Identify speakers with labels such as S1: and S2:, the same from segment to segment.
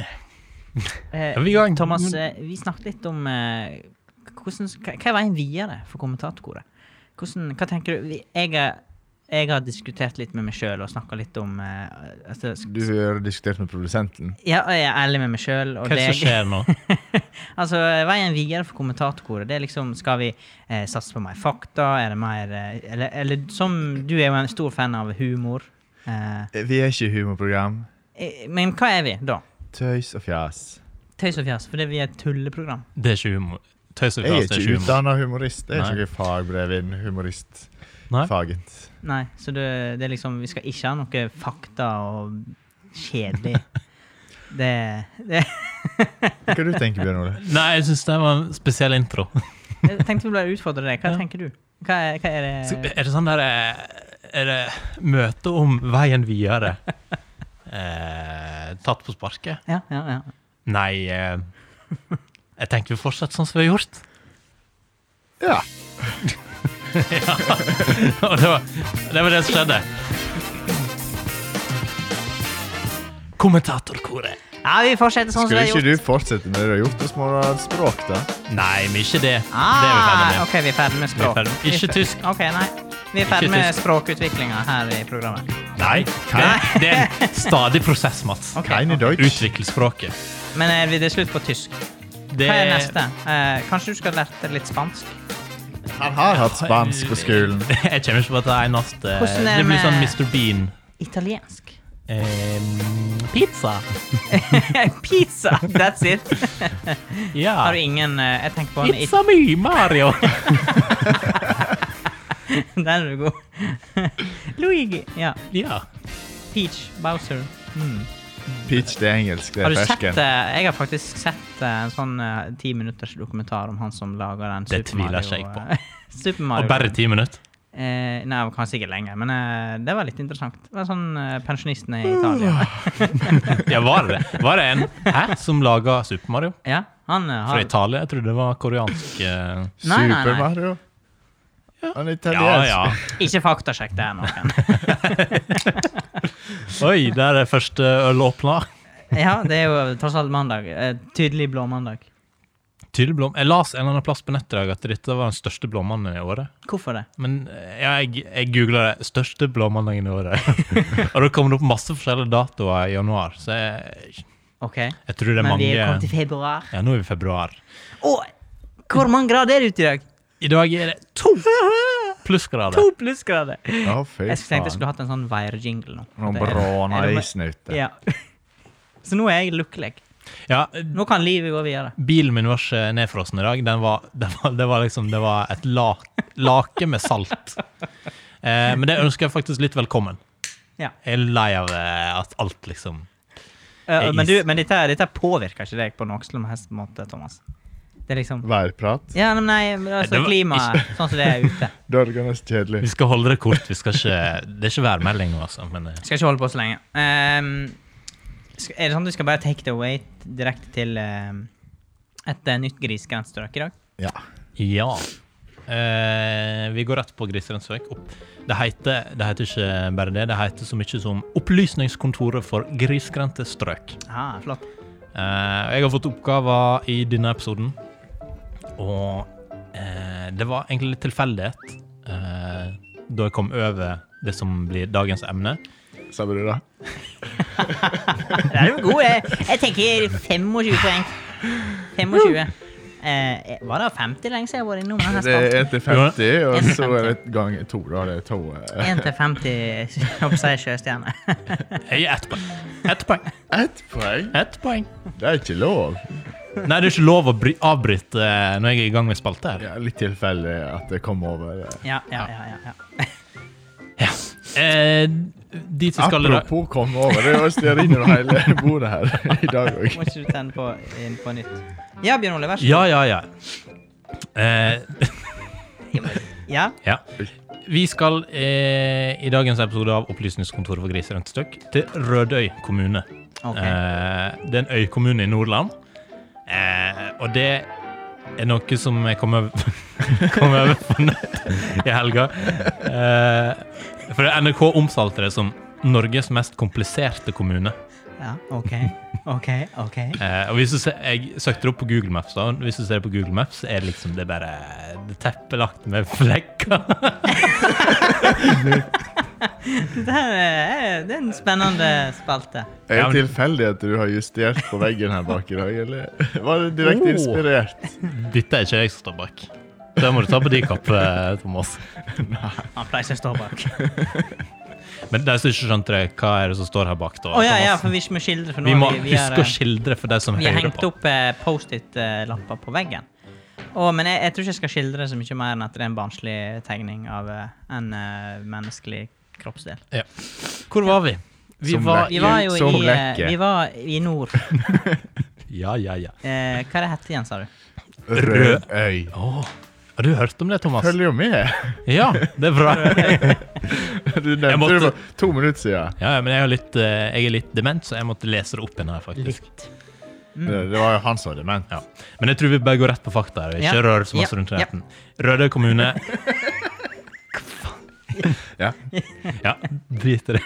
S1: Eh,
S2: Er vi i gang? Mm.
S1: Thomas, eh, vi snakket litt om eh, hvordan, hva hva er veien videre for kommentatorkoret? Hvordan, hva tenker du? Vi- Jeg, er- jeg har diskutert litt med meg sjøl og snakka litt om eh, altså, sk-
S3: Du har diskutert med produsenten.
S1: ja, og Jeg er ærlig med meg sjøl.
S2: Hva er det som skjer nå?
S1: altså, veien videre for kommentatorkoret, det er liksom Skal vi eh, satse på mer fakta? Er det mer eh, eller, eller som Du er jo en stor fan av humor. Eh,
S3: Vi er ikke humorprogram.
S1: eh, men hva er vi da?
S3: Tøys og fjas.
S1: Tøys og fjas, fordi vi er et tulleprogram.
S2: Det er ikke humor. Tøys og
S3: Jeg er
S2: fjas, det er
S3: ikke
S2: ikke humor.
S3: utdanna humorist. Jeg
S2: Nei.
S3: er ikke noe fagbrev innen humoristfaget.
S2: Nei?
S1: Nei, så det, det er liksom Vi skal ikke ha noe fakta og kjedelig. Det, det
S3: Hva du tenker Bjørn Ole?
S2: Nei, jeg syns det var en spesiell intro.
S1: Jeg tenkte vi ble utfordre deg. Hva
S2: Ja.
S1: tenker du? Hva er, hva er
S2: Så
S1: det
S2: Er det sånn der eh, Er det møte om veien videre? Eh, tatt på sparket?
S1: Ja, ja, ja.
S2: Nei eh, Jeg tenkte vi fortsetter sånn som vi har gjort.
S3: Ja.
S2: Og det var det, var det som skjedde. Kommentatorkoret.
S1: ja vi fortsetter sånn som
S3: Skulle
S1: vi har
S3: ikke
S1: gjort.
S3: du fortsette med det du har gjort hos Morad Språk, da?
S2: Nei, men ikke det. det er vi ferdig
S1: Ah,
S2: med.
S1: OK, vi er ferdig med
S2: Vi er
S1: språk.
S2: ferdig. Ikke tysk.
S1: OK, nei. Vi er ferdig
S2: Ikke
S1: med
S2: tysk.
S1: språkutviklinga her i programmet.
S2: Nei. Det, det er en stadig prosess, Mats.
S1: Ok.
S3: Keine Deutsch.
S2: Utvikle språket.
S1: Men er vi- det er slutt på tysk.
S2: Det
S1: Hva er neste? Eh, kanskje du skal lære deg litt spansk?
S3: Han har hatt spansk på skolen.
S2: Jeg kommer ikke på at det er eneste.
S1: Hvordan er det
S2: Det blir sånn
S1: med-
S2: Mr. Bean.
S1: Italiensk?
S2: Ehm, pizza.
S1: Pizza! That's it.
S2: Ja.
S1: Har du ingen eh, Jeg tenker på en
S2: Ah. Pizza me, Mario.
S1: Der er du god. Luigi. Ja.
S2: ja.
S1: Peach. Bowser.
S3: Peach, det er engelsk. Det
S1: Har
S3: er
S1: du sett
S3: fersken.
S1: eh, Jeg har faktisk sett eh, en sånn eh, ti minutters dokumentar om han som lager den eh,
S2: Det tviler ikke jeg på.
S1: Super
S2: Og
S1: Mario.
S2: bare ti minutter.
S1: Eh, nei, det var kanskje ikke lenger, men eh, det var litt interessant. Det var sånn eh, pensjonisten i Italia.
S2: Ja, var det det? Var det en hæ, som laga Super Mario?
S1: ja, han eh,
S2: Fra
S1: har
S2: Italia? Jeg trodde det var koreansk. eh.
S1: Nei, nei, nei.
S3: Super Mario. Han er
S2: Ja,
S3: italiensk.
S2: ja.
S1: Ikke faktasjekk det, er noen.
S2: Oi, der er første øl åpna.
S1: ja, det er jo tross alt mandag. Eh, tydelig blåmandag.
S2: Tydelig blom. Jeg las en eller annen plass på nettet i dag at dette var den største blommannen i året.
S1: Hvorfor det?
S2: Men eh, ja, jeg, jeg googla det. 'Største blåmandagen i året'. og da kom det opp masse forskjellige datoer i januar, så jeg,
S1: OK,
S2: jeg tror det er
S1: men vi er kommet
S2: mange
S1: til februar.
S2: Ja, nå er vi i februar.
S1: Å! Hvor mange grader er det ute i dag?
S2: I dag er det to plussgrader.
S1: To plussgrader!
S3: Å, fy
S1: Jeg tenkte jeg
S3: faen.
S1: skulle hatt en sånn værjingle nå.
S3: Nå
S1: Det er-
S3: bråner
S1: er det-
S3: isen ute.
S1: Ja. Så nå er jeg lykkelig.
S2: Ja,
S1: Nå kan livet gå videre.
S2: bilen min var ikke nedfrossen i dag. Den var, den var, det var liksom Det var et la, lake med salt. Eh, men det ønsker jeg faktisk litt velkommen.
S1: Ja.
S2: Jeg er lei av eh, at alt liksom
S1: Eh,
S2: Jeg
S1: men du,
S2: is-
S1: men dette, dette påvirker ikke deg på noen som helst måte, Thomas. Det er liksom
S3: Værprat.
S1: Ja, men nei, men
S2: Nei,
S1: altså
S2: det var
S1: klimaet sånn som det er ute.
S3: Dørgende kjedelig.
S2: Vi skal holde det kort. Vi skal ikke, det er ikke værmelding nå, altså. Men eh,
S1: Skal ikke holde på så lenge. Ehm, sk- er det sånn at du skal bare take the away direkte til ehm, et eh, nytt grisgrensestrøk i dag?
S3: Ja.
S2: ja. Eh, vi går rett på Grisgrendsøk. Opp. Det heter, det heter ikke bare det, det heter så mye som Opplysningskontoret for grisgrendte strøk.
S1: Ah, flott.
S2: Eh, jeg har fått oppgaver i denne episoden, og eh, det var egentlig litt tilfeldighet eh, da jeg kom over det som blir dagens emne.
S3: Sa du det?
S1: Der er du god. Jeg, jeg tenker 25 poeng. 25. Eh, var det 50 lenge siden jeg har vært innom denne
S3: Det er
S1: spalten?
S3: 1 til 50, og
S1: En til
S3: så er det gang to. Da er det to. eh,
S1: 1 til 50 opp seg sjøstjerne.
S2: Jeg gir ett poeng. Ett poeng.
S3: Ett poeng?
S2: Ett poeng.
S3: Det er ikke lov.
S2: Nei, det er ikke lov å bry avbryte eh, når jeg er i gang med spalte her.
S3: Ja, litt tilfeldig at det kom over. eh.
S1: Ja, ja, ja, ja, ja.
S2: Eh, dit vi skal i dag
S3: Apropos komme over, det er jo styrer inn over hele bordet her i dag òg.
S1: Må ikke du tenne på, inn på nytt? Ja, Bjørn Ole, vær så
S2: Ja, ja, ja. Eh,
S1: god. Ja.
S2: Ja. Vi skal eh, i dagens episode av Opplysningskontoret for griser rundt støkk til Rødøy kommune.
S1: Ok.
S2: Eh, det er en øykommune i Nordland. Eh, og det er noe som jeg kom over, kom over på nett i helga. Eh, for NRK omtalte det som Norges mest kompliserte kommune.
S1: Ja, OK. OK. ok.
S2: Eh, og hvis du ser, jeg søkte det opp på Google Maps, da. Hvis du ser det på Google Maps, er det liksom det er bare det er teppelagt med flekker.
S1: Det her er, det er en spennende spalte.
S2: Ja,
S3: Er
S2: men-
S3: det tilfeldigheter du har justert på veggen her bak i dag, eller var det direkte
S2: Oh.
S3: inspirert?
S2: Dette er ikke jeg som står bak. Det må du ta på din kappe, Thomas.
S1: Han pleier ikke å stå bak.
S2: Men de som ikke skjønte det, hva er det som står her bak, da?
S1: Å ja, ja,
S2: Thomas?
S1: for vi må skildre. For nå
S2: vi må
S1: har vi, vi har,
S2: huske å
S1: eh,
S2: skildre for de som
S1: Vi har
S2: hører
S1: hengt
S2: på.
S1: opp eh, Post-It-lapper på veggen. Å, men jeg, jeg tror ikke jeg skal skildre så mye mer enn at det er en barnslig tegning av eh, en eh, menneskelig kroppsdel.
S2: Ja. Hvor var vi? Vi
S3: Som
S2: var
S1: Vi var jo
S3: Som
S1: i, eh,
S3: lekke.
S1: vi var i nord.
S2: Ja, ja, ja.
S1: Eh, hva er det hette igjen, sa du?
S2: Rød.
S3: øy.
S2: Å, har du hørt om det, Thomas?
S3: Følger jo med!
S2: Ja, det er bra.
S3: Du
S2: Jeg
S3: nevnte
S2: måtte-
S3: det for to minutter siden.
S2: Ja, ja, men jeg er, litt, eh, jeg er litt dement, så jeg måtte lese det opp igjen her, faktisk.
S3: Det det var jo han som var dement.
S2: Ja. Men jeg tror vi bare går rett på fakta her, og ikke
S1: Ja.
S2: rør så masse
S1: Ja.
S2: rundt
S1: Ja.
S2: retten. Rødøy kommune
S3: Ja.
S2: Ja, drit i det.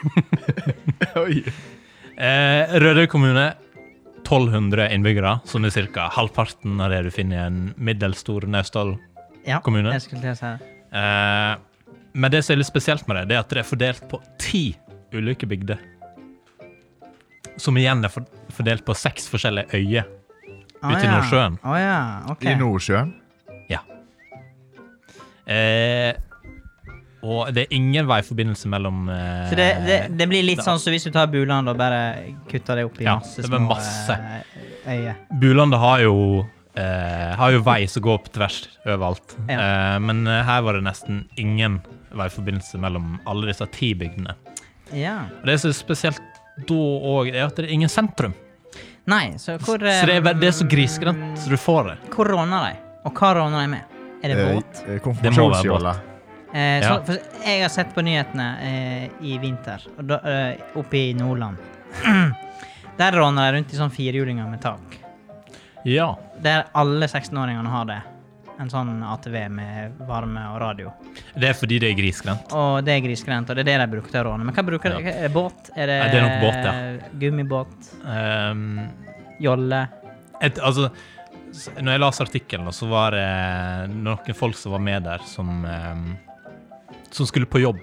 S3: Oi.
S2: Eh, Rødøy kommune, 1200 innbyggere, som er ca. halvparten av det du finner i en middelstor Naustdal.
S1: Ja,
S2: Kommune.
S1: Jeg skulle til å si det.
S2: Eh, men det som er litt spesielt med det, det er at det er fordelt på ti ulike bygder. Som igjen er for- fordelt på seks forskjellige øyer.
S1: Å,
S2: Ute i
S1: ja.
S2: Nordsjøen.
S1: Å ja, ok.
S3: I Nordsjøen.
S2: Eh, og det er ingen veiforbindelse mellom eh,
S1: Så det, det, det blir litt
S2: Da-
S1: sånn som hvis du tar Buland og bare kutter det opp i
S2: Ja,
S1: masse
S2: det
S1: små
S2: blir masse.
S1: eh, øyer.
S2: Bulandet har jo eh, Har jo vei som går på tvers overalt. Eh, men eh, her var det nesten ingen veiforbindelse mellom alle disse ti bygdene.
S1: Ja.
S2: Og det som er spesielt da òg, er at det er ingen sentrum.
S1: Nei, så hvor eh,
S2: Så det er, bare- det er så grisgrendt som du får det.
S1: Hvor råner de? Og hva råner de med? Er det
S3: Eh,
S1: båt?
S3: eh,
S2: Det må være
S3: Konfirmasjonsjolla.
S1: Eh,
S2: Ja.
S1: så, for jeg har sett på nyhetene eh, i vinter, og da, eh, oppe i Nordland. Der råner de rundt i sånn firehjulinger med tak. Mm.
S2: Ja.
S1: Der alle 16-åringene har det. En sånn ATV med varme og radio.
S2: Det er fordi det er grisgrendt.
S1: Og det er grisgrendt, og det er det de bruker til å råne. Men hva bruker
S2: Ja.
S1: de? Er det båt? Er det, eh,
S2: Nei, det er nok båt,
S1: gummibåt?
S2: Um,
S1: Jolle?
S2: et, altså, s- når jeg leste artikkelen, så var det noen folk som var med der, som, ehm, som skulle på jobb.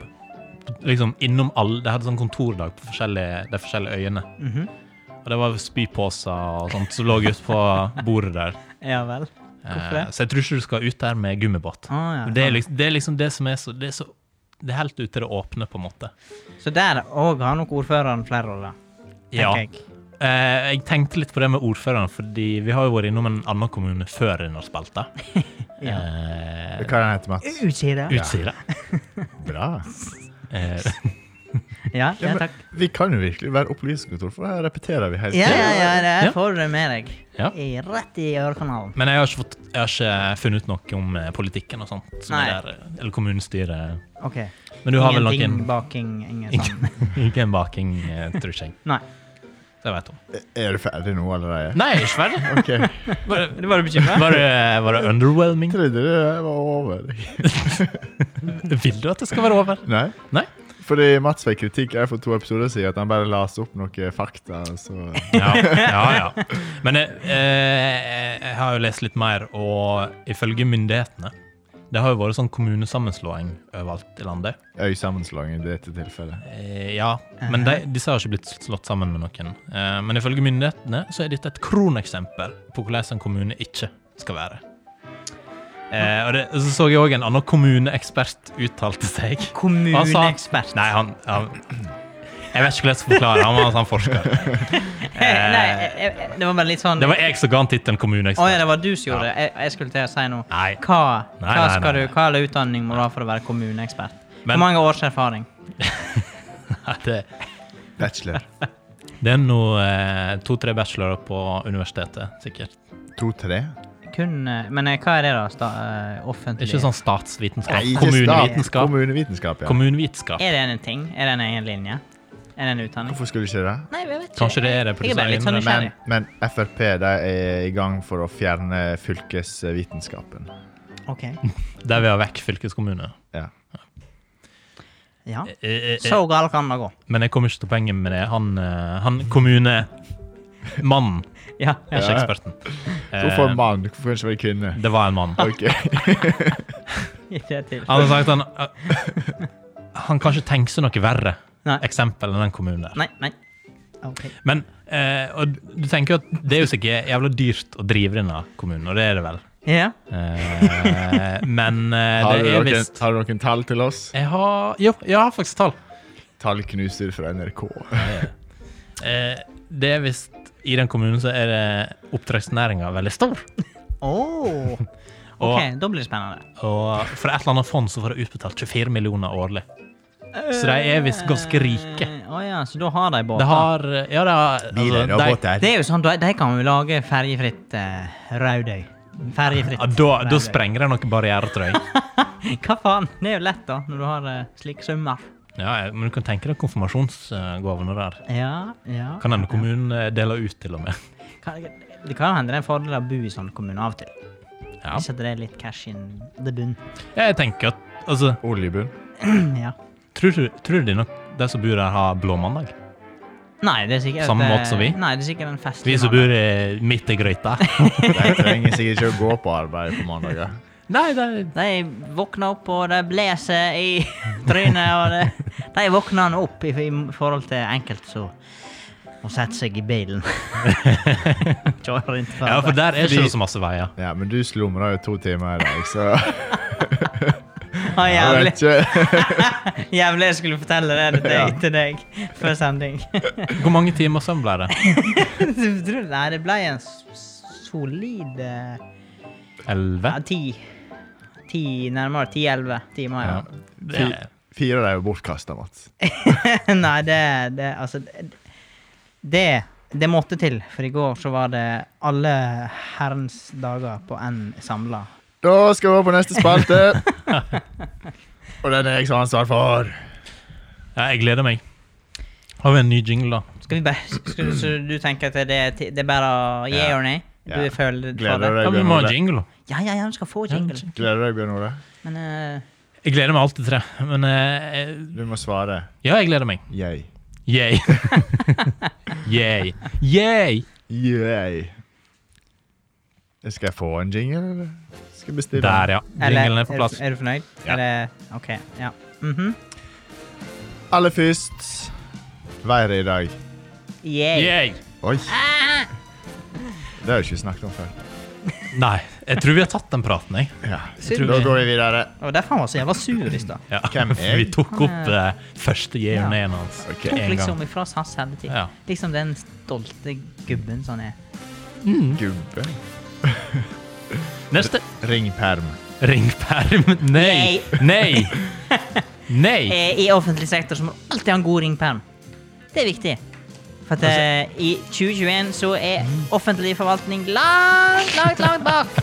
S2: Liksom innom alle, De hadde sånn kontordag på forskjellige, de forskjellige øyene.
S1: Mhm.
S2: Og det var spyposer og sånt som lå ute på bordet der.
S1: Ja vel. Hvorfor det?
S2: Eh, så jeg tror ikke du skal ut der med gummibåt.
S1: Å, ja.
S2: Det er liksom det, er liksom det som er så Det er, så, det er helt ute til det åpne, på en måte.
S1: Så der òg har nok ordføreren flere roller.
S2: Ja.
S1: tenker jeg.
S2: Eh, jeg tenkte litt på det med ordføreren, fordi vi har jo vært innom en annen kommune før denne spalta.
S1: Ja.
S2: Eh,
S3: Hva heter den, Mats?
S1: Utsida.
S2: Utsira.
S3: Bra.
S2: Eh,
S1: Ja,
S3: Ja,
S1: ja,
S3: men-
S1: takk.
S3: Vi kan jo virkelig være opplysningskontor, for her repeterer vi hele
S1: Ja,
S3: tiden.
S1: ja, ja, det her
S2: Ja.
S1: får du med deg.
S2: Ja.
S1: I, rett i ørekanalen.
S2: men jeg har, ikke fått, jeg har ikke funnet ut noe om eh, politikken og sånt. Som er
S1: Nei.
S2: der, eh, eller kommunestyret.
S1: Ok.
S2: Men du har vel
S1: Ingenting
S2: noen
S1: baking, ingen sånn.
S2: Ikke en baking, eh, tror ikke jeg.
S1: Nei.
S2: Det vet hun.
S3: Er du ferdig nå allerede?
S2: Nei, ikke ferdig.
S3: Ok,
S2: Var det,
S1: Du var bekymra?
S2: var det, eh, var det underwhelming?
S3: trodde det var over.
S2: Vil du at det skal være over?
S3: Nei?
S2: Nei.
S3: Fordi Mats fikk kritikk her for to episoder siden, at han bare leste opp noen fakta. Så
S2: Ja, ja. ja. Men jeg, eh, jeg har jo lest litt mer, og ifølge myndighetene Det har jo vært sånn kommunesammenslåing overalt i landet.
S3: øysammenslåing i dette tilfellet.
S2: Eh, ja,
S1: Mhm.
S2: men de, disse har ikke blitt slått sammen med noen. Eh, men ifølge myndighetene så er dette et kroneksempel på hvordan en kommune ikke skal være. Eh, og det, så så jeg òg en annen kommuneekspert uttalte seg.
S1: Kommuneekspert.
S2: Nei, han, han Jeg vet ikke hvordan jeg skal forklare. Han var en sånn forsker.
S1: Nei, jeg- jeg- det var bare litt sånn
S2: eh, Det var jeg som ga han
S1: Å
S2: tittelen
S1: ja,
S2: kommuneekspert.
S1: det var du som gjorde det. Jeg, jeg skulle til å si noe.
S2: Nei.
S1: Hva,
S2: Nei,
S1: hva
S2: nei,
S1: skal
S2: nei,
S1: du, hva slags utdanning må du ha for å være kommuneekspert?
S2: Men-
S1: Hvor mange års erfaring?
S2: Det,
S3: Bachelor.
S2: det er nå eh, to-tre bachelorer på universitetet, sikkert.
S3: 2-3.
S1: Kun eh, Men eh, hva er det, da? Sta, eh, offentlig
S2: Ikke sånn statsvitenskap.
S3: Nei, ikke stat.
S2: Kommunevitenskap.
S3: Kommunevitenskap, ja.
S2: Kommunevitenskap.
S1: Er det en ting? Er det en egen linje? Er det en utdanning?
S3: Hvorfor skulle ikke det?
S1: Nei, jeg vet ikke.
S2: Kanskje det er det,
S1: Jeg er bare litt sånn
S2: produsent Lindre,
S3: Men,
S1: nysgjerrig.
S3: men Frp de er i gang for å fjerne fylkesvitenskapen.
S1: Ok.
S2: Der vi har vekk fylkeskommune.
S3: Ja.
S1: Ja.
S2: Eh, eh, eh,
S1: Så galt kan det gå.
S2: Men jeg kommer ikke til poenget med det. Han, eh, han kommunemannen
S1: Ja.
S2: er ikke
S3: Ja.
S2: eksperten. Eh,
S3: Hvorfor en mann? Hvorfor kan det ikke være en kvinne?
S2: det var en mann.
S3: Ok.
S1: I det tilfellet.
S2: Han har sagt han, eh, han kan ikke tenke seg noe verre
S1: Nei.
S2: eksempel enn den kommunen der.
S1: Nei, nei. OK.
S2: Men eh, og du tenker jo at det er jo sikkert jævla dyrt å drive denne kommunen, og det er det vel.
S1: Ja.
S2: Eh, men eh,
S3: Har du,
S2: det er
S3: noen,
S2: visst
S3: har du noen tall til oss?
S2: Jeg har Jo, jeg har faktisk tall.
S3: Tallknuser fra NRK.
S2: Altså, Eh, det er visst I den kommunen så er det oppdrettsnæringa veldig stor.
S1: Åh.
S2: Og,
S1: OK, da blir det spennende.
S2: og fra et eller annet fond så får de utbetalt 24 millioner årlig. Så de er visst ganske rike.
S1: Eh, Å ja, så da har de båter.
S2: Det har Ja, det har altså, de-
S1: Det er jo sånn, de, de kan jo lage ferjefritt eh, Raudøy. Ferjefritt.
S2: ja, da, da
S1: Raudøy.
S2: sprenger det noen barrierer, tror jeg.
S1: Hva faen? Det er jo lett, da, når du har eh, slike summer.
S2: Ja, men du kan tenke deg konfirmasjonsgavene der.
S1: Ja, ja.
S2: Kan hende kommunen eh, deler ut, til og med.
S1: Kan- Det kan jo hende det er en fordel å bo i sånn kommune av og til.
S2: Ja.
S1: Hvis at det er litt cash in the bunn.
S2: Jeg tenker at Altså,
S3: Oljebunn.
S1: ja.
S2: tror du, tror du de, nok, de som bor der, har blå mandag?
S1: Nei, det er sikkert
S2: Samme
S1: eh,
S2: måte som vi?
S1: Nei, det er sikkert en fest.
S2: Vi som bor eh, midt i grøyta?
S3: De trenger sikkert ikke å gå på arbeid på mandager.
S2: Nei, det
S1: De våkner opp, og det blåser i trynet, og det, de våkner nå opp i, i forhold til enkelte som må sette seg i bilen. Kjører rundt på
S2: Ja, for
S1: arbeid.
S2: der er ikke
S3: Fordi-
S2: det så masse veier.
S3: Ja, men du slumra jo to timer i dag, så
S1: Å,
S3: jeg
S1: jævlig.
S3: vet ikke.
S1: Jævlig jeg skulle fortelle det til deg, til deg før sending.
S2: Hvor mange timer søvn ble det?
S1: Du tror- Nei, det ble en s- solid eh,
S2: Elleve?
S1: ja, ti. Ti, nærmere ti-elleve timer. Ja.
S2: Ja. Det-
S3: Fire av dem er bortkasta, Mats.
S1: Nei, det, det Altså, det, det det måtte til, for i går så var det alle herrens dager på én samla.
S3: Da skal vi over på neste spalte. Og den er jeg som har ansvar for.
S2: Ja, jeg gleder meg. Har vi en ny jingle, da?
S1: Skal vi bare skal, du- Så du tenker at det, er ti- det er bare å gi
S3: Ja.
S1: or nay? Du
S3: Ja.
S1: føler for
S3: Gleder
S1: det?
S3: deg,
S2: Ja, vi
S3: Bjørn
S2: må ha en
S3: Ole.
S2: jingle.
S1: Ja, ja, ja, du skal få jingle.
S3: Gleder deg, Bjørn Ole.
S1: Men eh,
S2: Jeg gleder meg alltid til det. Men eh,
S3: Du må svare
S2: ja, jeg gleder meg.
S3: jeg.
S2: Yay. Yay. Yay.
S3: Yay. Skal jeg få en jingle, eller? Skal jeg bestille? en?
S2: Der, ja.
S1: eller,
S2: Jinglen er på
S1: du-
S2: plass.
S1: Er du fornøyd?
S3: Ja.
S1: Eller, OK. Ja. Mhm.
S3: Aller først været i dag.
S1: Yay.
S2: Yay.
S3: Oi. Ah. Det har vi ikke snakket om før.
S2: Nei, jeg tror vi har tatt den praten, jeg.
S3: Ja.
S1: Synd.
S3: Da går vi videre.
S1: Det var derfor han var så jævla sur i stad.
S2: Ja.
S3: Hvem er jeg?
S2: Vi tok opp eh, første yay og nay-en hans.
S3: Ok.
S1: Tok
S2: En gang.
S1: liksom ifra SAS hele tiden.
S2: Ja.
S1: Liksom den stolte gubben som han er.
S3: Gubbe.
S2: Neste.
S3: Ringperm.
S2: Ringperm. Nei. Nei. Nei.
S1: Eh, I offentlig sektor så må du alltid ha en god ringperm. Det er viktig. For at eh, i 2021 så er offentlig forvaltning langt, langt, langt bak.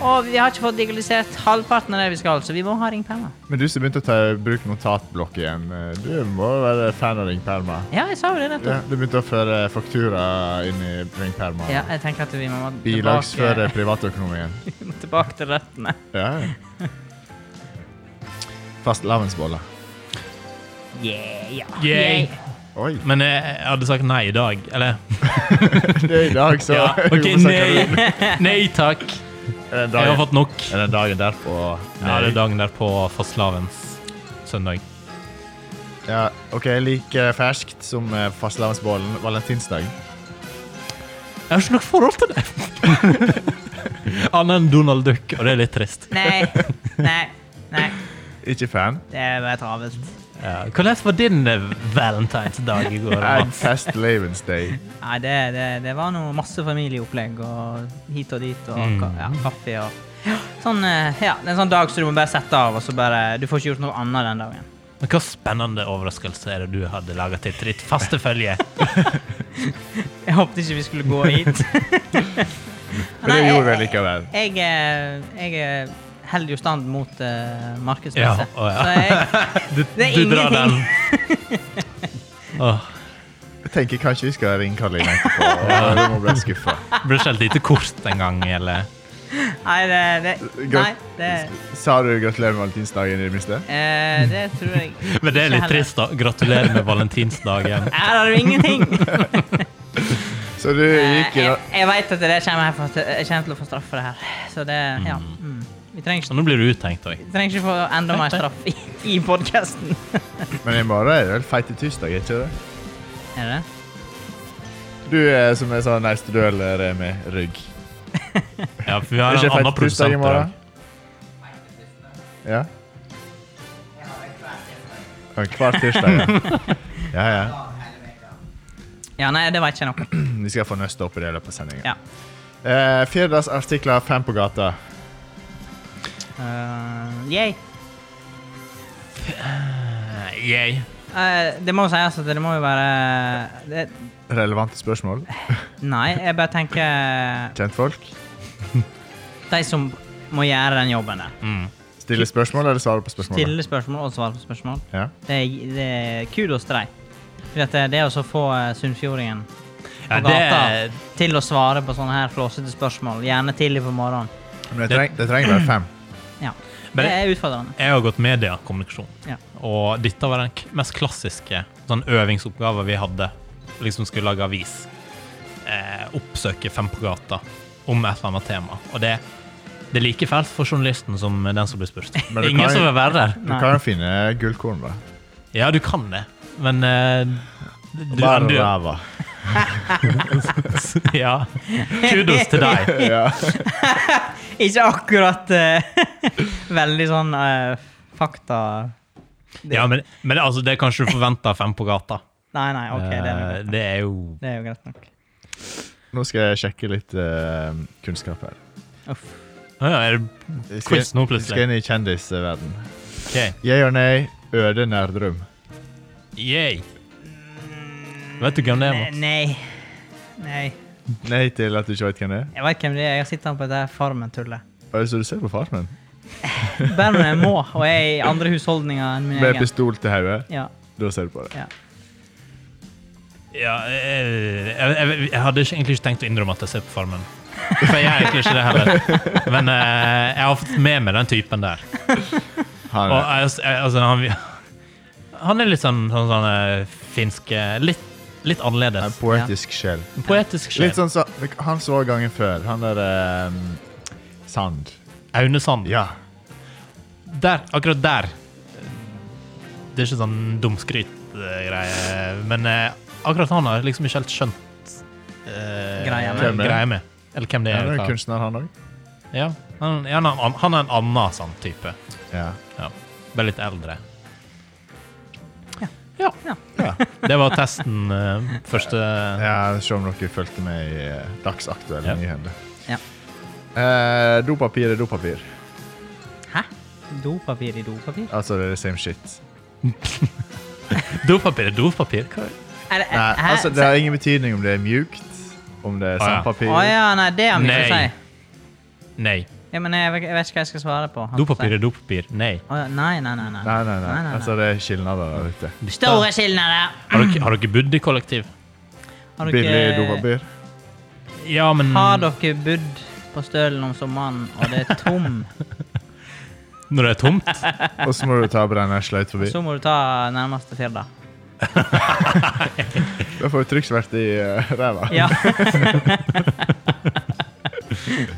S1: Og vi har ikke fått digitalisert halvparten av det vi skal, så vi må ha ringpermer.
S3: Men du som begynte å ta i bruk notatblokk igjen, eh, du må være fan av ringperma.
S1: Ja, jeg sa jo det
S3: Ja,
S1: nettopp.
S3: du begynte å føre faktura inn i ringperma.
S1: Ja, jeg tenker at vi må tilbake,
S3: Bilagsføre privatøkonomien.
S1: tilbake til røttene.
S3: Ja. Fastelavnsboller.
S1: Yeah, ja.
S2: Yay.
S3: Oi,
S2: Men jeg, jeg hadde sagt nei i dag. Eller
S3: det er i dag, så
S2: ja. OK,
S3: Hvorfor snakker du?
S2: nei. Nei takk.
S3: Er
S2: Jeg
S3: det
S2: har
S3: dagen,
S2: fått nok.
S3: er det dagen derpå?
S2: Ja, det er dagen der på fastelavns søndag.
S3: Ja, ok, like ferskt som eh, fastelavnsbollen valentinsdag.
S2: Jeg har ikke noe forhold til det. Annet enn Donald Duck, og det er litt trist.
S1: Nei, nei, nei.
S3: Ikke fan.
S1: Det er bare travelt.
S2: Ja. Hvordan var din eh, valentinsdag i går?
S3: En
S2: Mats?
S3: festlevensdag.
S1: Nei, det, det, det var noe masse familieopplegg og hit og dit
S2: Mm.
S1: og ka ja, kaffe og Sånn, eh, ja, det er en sånn dag så du må bare sette av, og så bare Du får ikke gjort noe annet den dagen.
S2: Men Hva spennende overraskelse er det du hadde laga til ditt faste følge?
S1: Jeg håpet ikke vi skulle gå hit.
S3: Men det
S1: Nei,
S3: gjorde
S1: jeg-
S3: vi likevel.
S1: Jeg, eh, jeg eh, holder jo stand mot uh,
S2: Ja,
S1: markedspresset.
S2: å ja.
S1: Så jeg,
S2: Du,
S1: Det er
S2: du drar den.
S1: ingenting.
S2: Åh,
S3: Jeg tenker kanskje vi skal ringe Karoline etterpå. og Hun må bli skuffa.
S2: det ble ikke et lite kort en gang, eller?
S1: Nei, det, det, nei, det,
S3: Sa du gratulerer med valentinsdagen i det minste?
S1: eh, det tror jeg
S2: Men det er
S1: ikke
S2: litt
S1: heller.
S2: trist, da. Gratulerer med valentinsdagen.
S1: Her har du ingenting!
S3: Så du
S1: Eh,
S3: gikk i
S1: jeg jeg veit at det kommer jeg, for, jeg kommer til å få straff for det her. Så det Ja. Mm. Vi trenger
S2: Så
S1: ikke,
S2: nå blir du uttenkt òg.
S1: vi trenger ikke få enda mer straff i, i podkasten.
S3: Men i morgen er det vel feite tirsdag, er ikke det?
S1: Er det det?
S3: Du eh, som er sånn neste duell er det med rygg.
S2: Ja, for vi har
S3: Er
S2: en
S3: ikke
S2: annen
S3: feite tirsdag
S2: produsent
S3: i
S2: i
S3: morgen?
S2: dag.
S3: Ja. Ja, Hver tirsdag, ja. Ja, ja.
S1: Ja, nei, det veit ikke jeg noe om.
S3: Vi skal få nøste opp i det i løpet av sendingen.
S1: Ja.
S3: Eh, Firdas artikler fem på gata.
S1: Eh, yay.
S2: Eh, Yay.
S1: Eh, det må jo sies at det må jo være det,
S3: Relevante spørsmål.
S1: Nei, jeg bare tenker
S3: Kjentfolk.
S1: De som må gjøre den jobben der.
S2: Mm.
S3: Stille spørsmål eller svare på spørsmål?
S1: Stille spørsmål og svare på spørsmål.
S3: Ja.
S1: Det er, det er kudos til dem. Fordi at det- det å så få eh, sunnfjordingen på
S2: Ja,
S1: gata
S2: det,
S1: til å svare på sånne her flåsete spørsmål, gjerne tidlig på morgenen,
S3: Men det, treng, det trenger bare fem.
S1: ja.
S2: Men-
S1: det er utfordrende.
S2: jeg har gått mediekommunikasjon,
S1: Ja.
S2: og dette var den k- mest klassiske sånn øvingsoppgaven vi hadde. Liksom skulle lage avis. Eh, oppsøke Fem på gata om et eller annet tema. Og det, det er like fælt for journalisten som den som blir spurt.
S3: Men det
S2: Ingen
S3: kan-
S2: som vil være der.
S3: Du kan jo finne gullkorn, da.
S2: Ja, du kan det, men eh, du,
S3: Bare
S2: du,
S3: ræva.
S2: Ja. Kudos til deg.
S3: Ja.
S1: Ikke akkurat eh, veldig sånn eh, fakta...
S2: Ja, men, men det- altså, det kan ikke du forvente av Fem på gata.
S1: Nei, nei, ok, det er,
S2: Eh,
S1: nok.
S2: det er jo
S1: det er jo greit nok.
S3: Nå skal jeg sjekke litt eh, kunnskap her.
S1: Uff.
S2: Å ja, er det
S3: Vi skal,
S2: quiz nå,
S3: vi skal
S2: plutselig?
S3: inn i kjendisverden.
S2: Ok,
S3: Jeg og nei, Øde Nerdrum.
S2: Yay. Vet du hvem det er? Mats?
S1: Nei. Nei.
S3: Nei til at du ikke vet hvem det er?
S1: Jeg vet hvem det er. Jeg har sittet på dette Farmen-tullet.
S3: Hva er det så du ser på Farmen?
S1: Bare når jeg må, og jeg er i andre husholdninger enn min
S3: Med
S1: egen.
S3: pistol til hodet?
S1: Ja.
S3: Da ser du på det.
S1: ja.
S2: Ja, jeg, jeg, jeg, jeg hadde ikke, egentlig ikke tenkt å innrømme at jeg ser på Farmen. For jeg er egentlig ikke det heller. Men eh, jeg har fått med meg den typen der.
S3: Han,
S2: Og jeg, jeg, altså, han, han er litt sånn, sånn, sånn eh, finsk eh, litt, litt
S3: er en
S2: annerledes.
S3: poetisk sjel.
S2: Poetisk sjel.
S3: Litt sånn som han så gangen før. Han der ehm, Sand.
S2: Aune Sand.
S3: Ja.
S2: Der, akkurat der. Det er ikke sånn dumskryt-greie, men eh, akkurat han har liksom ikke helt skjønt eh,
S1: Greia
S3: med.
S2: greia med. Eller hvem det er.
S3: Han er jo
S2: hva-
S3: en kunstner, han òg.
S2: ja, han, ja, han, er en- han er en annen sånn type.
S3: Ja.
S2: Ja. Bare litt eldre.
S3: Ja.
S2: Det var testen eh, første
S3: ja, Se om dere fulgte med i eh, dagsaktuelle
S2: Ja.
S3: nyhender.
S1: Ja.
S3: Eh, dopapir er dopapir.
S1: Hæ? Dopapir i dopapir?
S3: Altså, det er the same shit.
S2: Dopapir er dopapir. Hva?
S1: Er det,
S3: Nei,
S1: hæ?
S3: altså, det har ingen betydning om det er mjukt, om det er
S1: Å
S2: Å, ja.
S3: sandpapir.
S1: ja, nei, det har vi ikke å
S2: Nei.
S1: si.
S2: Nei.
S1: Ja, men jeg, vet- jeg vet ikke hva jeg skal svare på.
S2: Dopapir er dopapir. Nei.
S1: Å ja, nei, nei, nei. nei.
S3: Nei, nei, nei. Altså, det er skilnader der ute.
S1: Store skillnader!
S2: Har dere, har dere bodd i kollektiv?
S1: Har dere-
S3: Billig dopapir.
S2: Ja, men
S1: Har dere bodd på Stølen om sommeren, og det er tom,
S2: når det er tomt?
S3: Og så må du ta brennesløyt forbi.
S1: så må du ta nærmeste Firda.
S3: Da får du trykksverte i eh, ræva.
S1: Ja.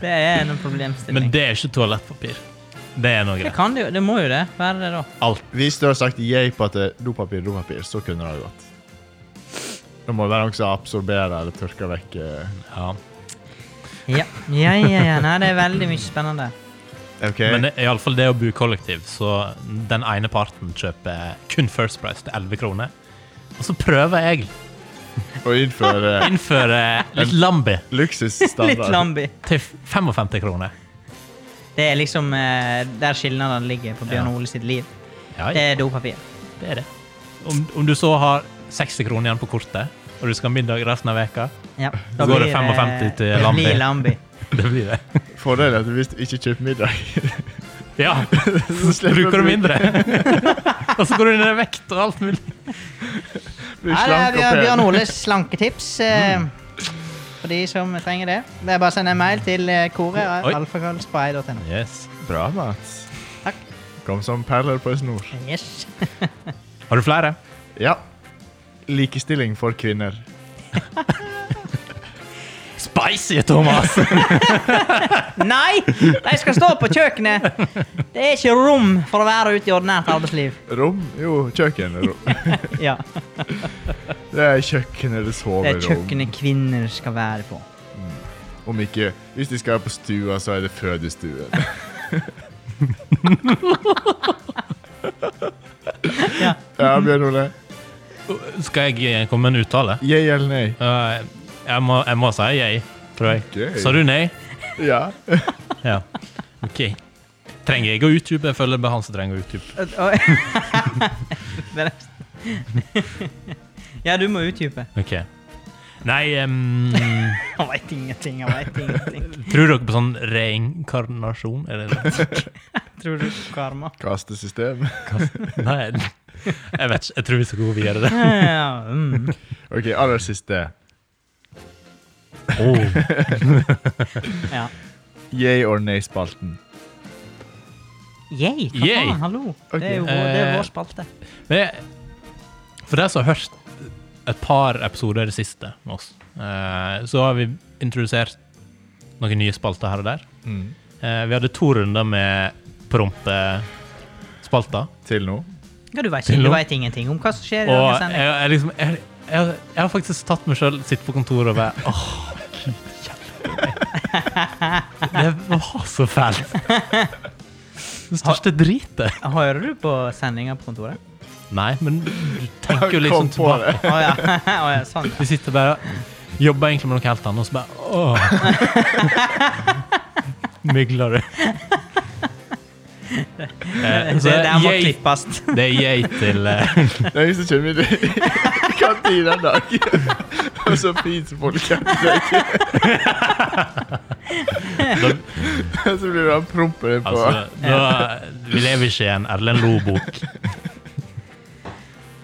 S1: det er en problemstilling.
S2: Men det er ikke toalettpapir. Det er noe
S1: det
S2: greit.
S1: kan det jo. Det må jo det være det, da.
S2: Alt.
S3: Hvis du har sagt yay på at det er dopapir, dopapir, så kunne det ha gått. Det må være noen som absorberer eller tørker vekk eh.
S2: Ja.
S1: Ja, ja, ja. ja. Nei, det er veldig mye spennende.
S3: OK?
S2: Men det- i alle fall det å bo i kollektiv, så den ene parten kjøper kun First Price til 11 kroner. Og så prøver jeg
S3: Og eh, innføre
S2: å innføre litt Lambi
S1: Litt
S3: luksusstandard.
S1: Lambi.
S2: til 55 kroner.
S1: Det er liksom eh, der skilnadene ligger på Bjørn Ole sitt liv.
S2: Ja,
S1: Det
S2: ja,
S1: er dopapir.
S2: det er det. Om, om du så har 60 kroner igjen på kortet, og du skal ha middag resten av veka,
S1: Ja. eh,
S2: Da går det 55 til
S1: det
S2: Lambi.
S1: blir Lambi.
S2: det blir det.
S3: Fordelen er at hvis du ikke kjøper middag,
S2: Ja,
S3: så
S2: bruker
S3: du
S2: du mindre. Og så går du ned i vekt og alt mulig.
S3: bli slank og
S1: Bjørn
S3: pen.
S1: Oles slanketips. Eh, For de som trenger det. Det er bare å sende en mail til eh, kore.
S2: Oi.
S1: Alfakrøllspray.no.
S2: Yes.
S3: Bra, Mats.
S1: Takk.
S3: Kom som perler på en snor.
S1: Yes.
S2: Har du flere?
S3: Ja. Likestilling for kvinner.
S2: Spicy, Thomas!
S1: Nei! De skal stå på kjøkkenet! Det er ikke rom for å være ute i ordinært arbeidsliv.
S3: Rom? Jo, kjøkkenrom.
S1: Ja.
S3: Det er kjøkkenet det
S1: Det
S3: sover
S1: er
S3: om.
S1: kjøkkenet kvinner skal være på.
S3: Om ikke Hvis de skal være på stua, så er det fødestuen.
S1: Ja.
S3: Ja, Bjørn Ole.
S2: Skal jeg eh, komme med en uttale?
S3: Jeg eller nei?
S2: Eh, jeg, må, jeg må si jeg, tror jeg.
S3: Gøy.
S2: Sa du nei?
S3: Ja.
S2: Ja. OK. Trenger jeg å utdype? Jeg føler det er han som trenger å utdype.
S1: Oi. Men- Ja, du må utdype.
S2: OK. Nei ehm,
S1: Han veit ingenting, han veit ingenting.
S2: Tror dere på sånn reinkarnasjon? Er det det?
S1: Tror du på karma?
S3: Kastesystem.
S2: Nei, jeg vet ikke. Jeg tror vi skal gå videre.
S1: Ja, ja, mm.
S3: OK, aller siste.
S2: Oh.
S1: ja.
S3: Yay or nay-spalten.
S1: Yay, hva
S2: Yay.
S1: faen, hallo? Det er jo vår,
S3: Ok.
S1: det er
S2: Eh,
S1: vår spalte.
S2: Men jeg, for dere som har hørt et par episoder det siste med oss, eh, så har vi introdusert noen nye spalter her og der.
S3: Mm.
S2: Eh, vi hadde to runder med prompespalter.
S3: Til nå.
S1: Ja, du vet,
S2: til
S1: du
S2: nå.
S1: vet ingenting om hva som skjer i
S2: Og
S1: dagens
S2: jeg,
S1: sending.
S2: jeg, liksom, jeg, jeg, jeg har faktisk tatt meg sjøl, sitte på kontoret og bare åh, Gud, hjelpe meg. Det var så fælt. Det største dritet.
S1: Hører du på sendinga på kontoret?
S2: Nei, men du tenker jo litt
S3: Kom
S2: sånn
S3: på
S2: tilbake.
S3: det.
S1: Å ja. Å, ja, sånn.
S2: Du sitter bare Jobber egentlig med noe helt annet, og så bare åh. Mygler du. Eh,
S1: Det
S2: så
S1: der må
S2: yay-
S1: klippes.
S2: det er yay til eh,
S3: Det er jeg som kommer i kantina en dag. Og så fryser folk etter
S2: da,
S3: Og så blir han promper på
S2: altså, da, Vi lever ikke i en Erlend Loe-bok.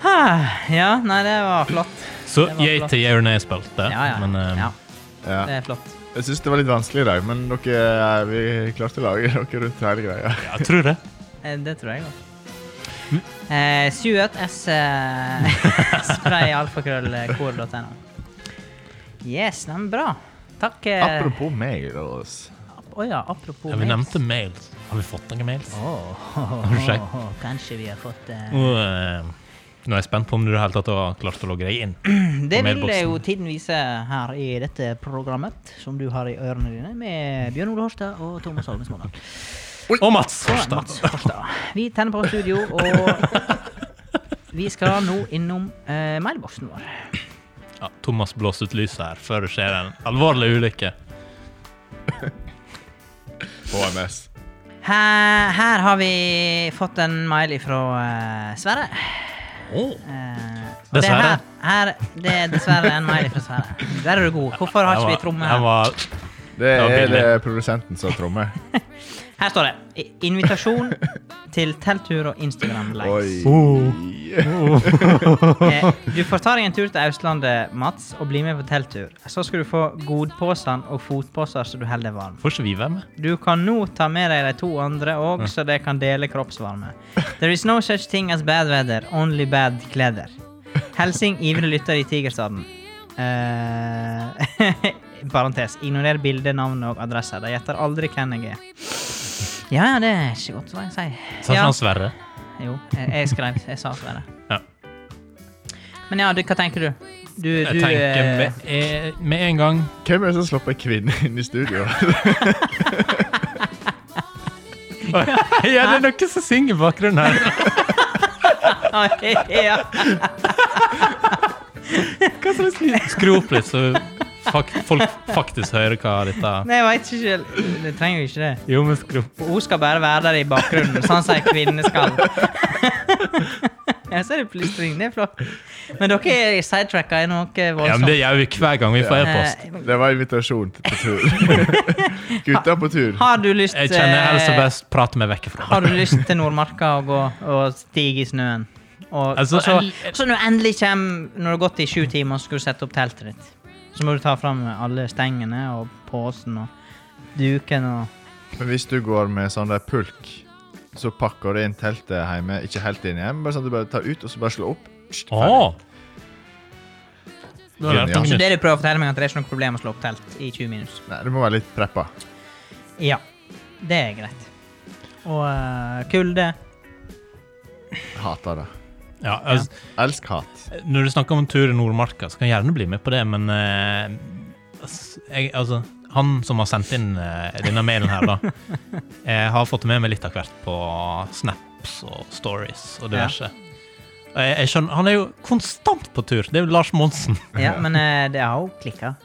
S1: Ah, Ja, nei, det var flott.
S2: Så
S1: Det var
S2: yay
S1: flott.
S2: til Yay or Nay-spalte.
S1: Ja, ja.
S2: Men eh,
S1: ja
S3: ja.
S1: det er flott.
S3: Jeg syns det var litt vanskelig i dag, men dere, vi klarte å lage dere rundt hele greia.
S2: jeg tror det.
S1: Eh, Det tror jeg òg.
S2: Mm.
S1: Eh, Stuart S. Eh, spray alfakrøllkor.no. Yes, nei, men bra. Takk. eh,
S3: Apropos mail. altså.
S1: ap- Å ja, apropos
S2: Ja, vi
S1: mails.
S2: nevnte mails. Har vi fått noen mails?
S1: Åh,
S2: Har du sjekket?
S1: Kanskje vi har fått eh,
S2: Og, eh, nå er jeg spent på om du i det hele tatt har klart å logge deg inn.
S1: Det
S2: på
S1: vil
S2: mailboksen.
S1: jo tiden vise her i dette programmet som du har i ørene dine, med Bjørn Ole Horstad og Thomas Holmes Måland.
S2: Og Mats!
S1: Og Mats Horstad. Vi tenner på studio, og vi skal nå innom eh, mailboksen vår.
S2: Ja, Thomas blåser ut lyset her før det skjer en alvorlig ulykke.
S3: HMS.
S1: Her, her har vi fått en mail fra Sverre. Eh, det er
S2: Dessverre.
S1: Her, her, det er dessverre en mail fra Sverre. Der er du god. Hvorfor har ikke vi tromme
S2: Jeg
S1: her?
S2: var,
S3: Det
S2: var
S3: er
S2: billig.
S3: det produsenten som trommer.
S1: Her står det i- 'Invitasjon til telttur og Instagram-likes'.
S3: Oi.
S2: Oh,
S1: Eh, Du får ta deg en tur til Austlandet, Mats, og bli med på telttur. Så skal du få godpåsen og fotposer så du holder deg varm.
S2: får ikke vi være med?
S1: Du kan nå ta med deg de to andre òg, så de kan dele kroppsvarme. There is no such thing as bad weather, only bad kleder. Helsing ivrig lytter i Tigerstaden. Eh, parentes. Ignorer bilde, navn og adresse. De gjetter aldri hvem jeg er. Ja, ja, det er ikke godt hva jeg sier.
S2: Sa ikke
S1: Ja,
S2: Sånn han Sverre?
S1: jo, jeg, jeg skrev Jeg sa Sverre.
S2: Ja.
S1: Men ja, du, hva tenker du? Du,
S2: Jeg
S1: du
S2: tenker
S1: eh,
S2: med, eh, med en gang
S3: Hvem er det som slipper kvinner inn i studio?
S2: Ja, det er noen som synger i bakgrunnen her.
S1: Ah, ja.
S2: Hva slags lyd? Skru opp litt, så fak folk faktisk hører hva dette er.
S1: Nei, jeg veit ikke selv. Du trenger jo ikke det.
S2: Jo, men skru opp.
S1: Hun skal bare være der i bakgrunnen, sånn som ei kvinne skal. Jeg ser det plystring. Det er flott. Men dere er sidetracka i noe
S2: Ja, men
S1: voldsomt.
S2: det gjør vi hver gang vi får e-post.
S1: Eh,
S3: Det var invitasjon til på tur. Gutta på tur.
S1: har du lyst
S2: Jeg kjenner jeg helst
S1: eh,
S2: å bare prate meg vekk fra
S1: Har du lyst til Nordmarka og gå og stige i snøen? Og,
S2: Altså,
S1: og så,
S2: en-
S1: så når du endelig kommer, når du har gått i sju timer, så skal du sette opp teltet ditt. Så må du ta fram alle stengene og posen og duken og
S3: Men hvis du går med sånn der pulk, så pakker du inn teltet hjemme, ikke helt inn hjem, bare sånn at du bare tar ut og så bare slår opp. Pst, ferdig.
S2: Åh! Du har lært
S3: Genialt.
S2: noe
S1: Så
S2: nytt.
S1: det du prøver å fortelle meg, er at det er ikke noe problem å slå opp telt i 20 minus.
S3: Nei, du må være litt preppa.
S1: Ja. Det er greit. Og eh, kulde
S3: Hater det.
S2: Ja, altså,
S3: Elsk hat.
S2: Når du snakker om en tur i Nordmarka, så kan jeg gjerne bli med på det, men eh, ass- jeg, altså, Han som har sendt inn eh, denne mailen her, da, jeg har fått med meg litt av hvert på snaps og stories og diverse. Og jeg, jeg skjønner, Han er jo konstant på tur! Det er jo Lars Monsen.
S1: Ja, men eh, det har jo klikka.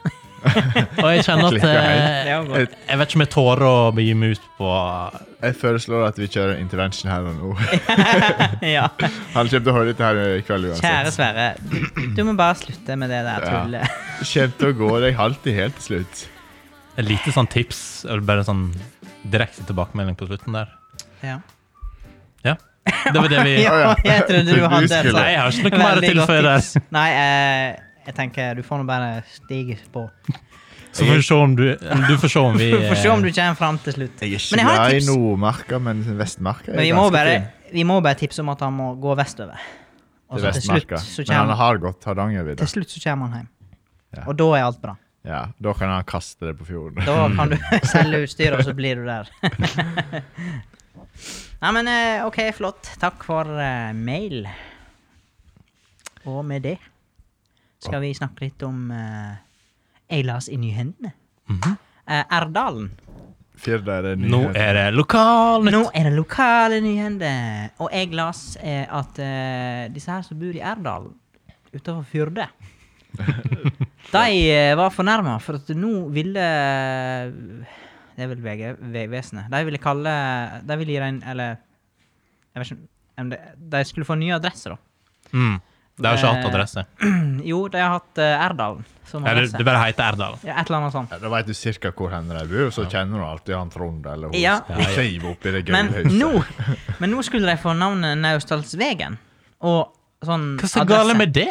S2: Og jeg kjenner at
S1: Det
S2: eh,
S1: har gått.
S2: Jeg vet ikke om jeg tårer å begi meg ut på
S3: Jeg foreslår at vi kjører intervention her og nå.
S1: ja.
S3: Han kommer til å høre dette her i kveld
S1: Kjære
S3: uansett.
S1: Sverre, du- du må bare slutte med det der
S3: Ja.
S1: tullet.
S3: Kommer til å gå deg alltid helt til slutt.
S2: et lite sånn tips, eller bare sånn direkte tilbakemelding på slutten der.
S1: Ja.
S2: Ja. Det var det vi
S1: Ja, jeg trodde du hadde et
S3: skulle-
S2: Nei, jeg har ikke noe mer å
S1: Veldig godt
S2: tilføye der.
S1: tips. Nei, eh, jeg tenker du får nå bare stige på.
S2: Så får vi se om du Du får se om vi
S1: Vi eh, får se om du kommer fram til slutt.
S3: Jeg er ikke
S1: Men jeg har et
S3: glad i
S1: tips.
S3: Nordmarka, men Vestmarka er
S1: Men vi må,
S3: ganske
S1: bare,
S3: fin.
S1: vi må bare tipse om at han må gå vestover. Og
S3: Til
S1: så til slutt
S3: Vestmarka.
S1: så
S3: Men han
S1: kommer,
S3: har gått Hardangervidda.
S1: til slutt så kommer han hjem.
S3: Ja.
S1: Og da er alt bra.
S3: Ja, da kan han kaste det på fjorden.
S1: Da kan du selge utstyret, og så blir du der. Nei, men eh, OK, flott. Takk for eh, mail. Og med det skal vi snakke litt om eh, Eilas i nyhendene. Eh, Erdalen.
S3: Firda er det nye.
S2: Nå er det lokalnytt!
S1: Nå er det lokale nyhender. Og jeg las eh, at eh, disse her som bor i Erdalen utenfor Fyrde De eh, var fornærma, for at nå ville Det er vel VG, Vegvesenet. De ville kalle De ville gi deg en Eller jeg vet ikke om det, De skulle få nye adresser, da.
S2: Mm. Det har ikke hatt
S1: Eh,
S2: adresse.
S1: Jo, de har hatt eh, Erdalen som
S2: Ja, det,
S1: adresse.
S2: det bare heter Erdal.
S1: Ja, et eller annet sånt.
S3: Ja, da veit du cirka hvor hen de bor, så kjenner du alltid han Trond eller hun
S1: Ja.
S3: hun Siv oppi det
S1: Men
S3: gøye huset.
S1: nå, men nå skulle de få navnet Naustdalsvegen. Og sånn
S2: Hva er så galt med det?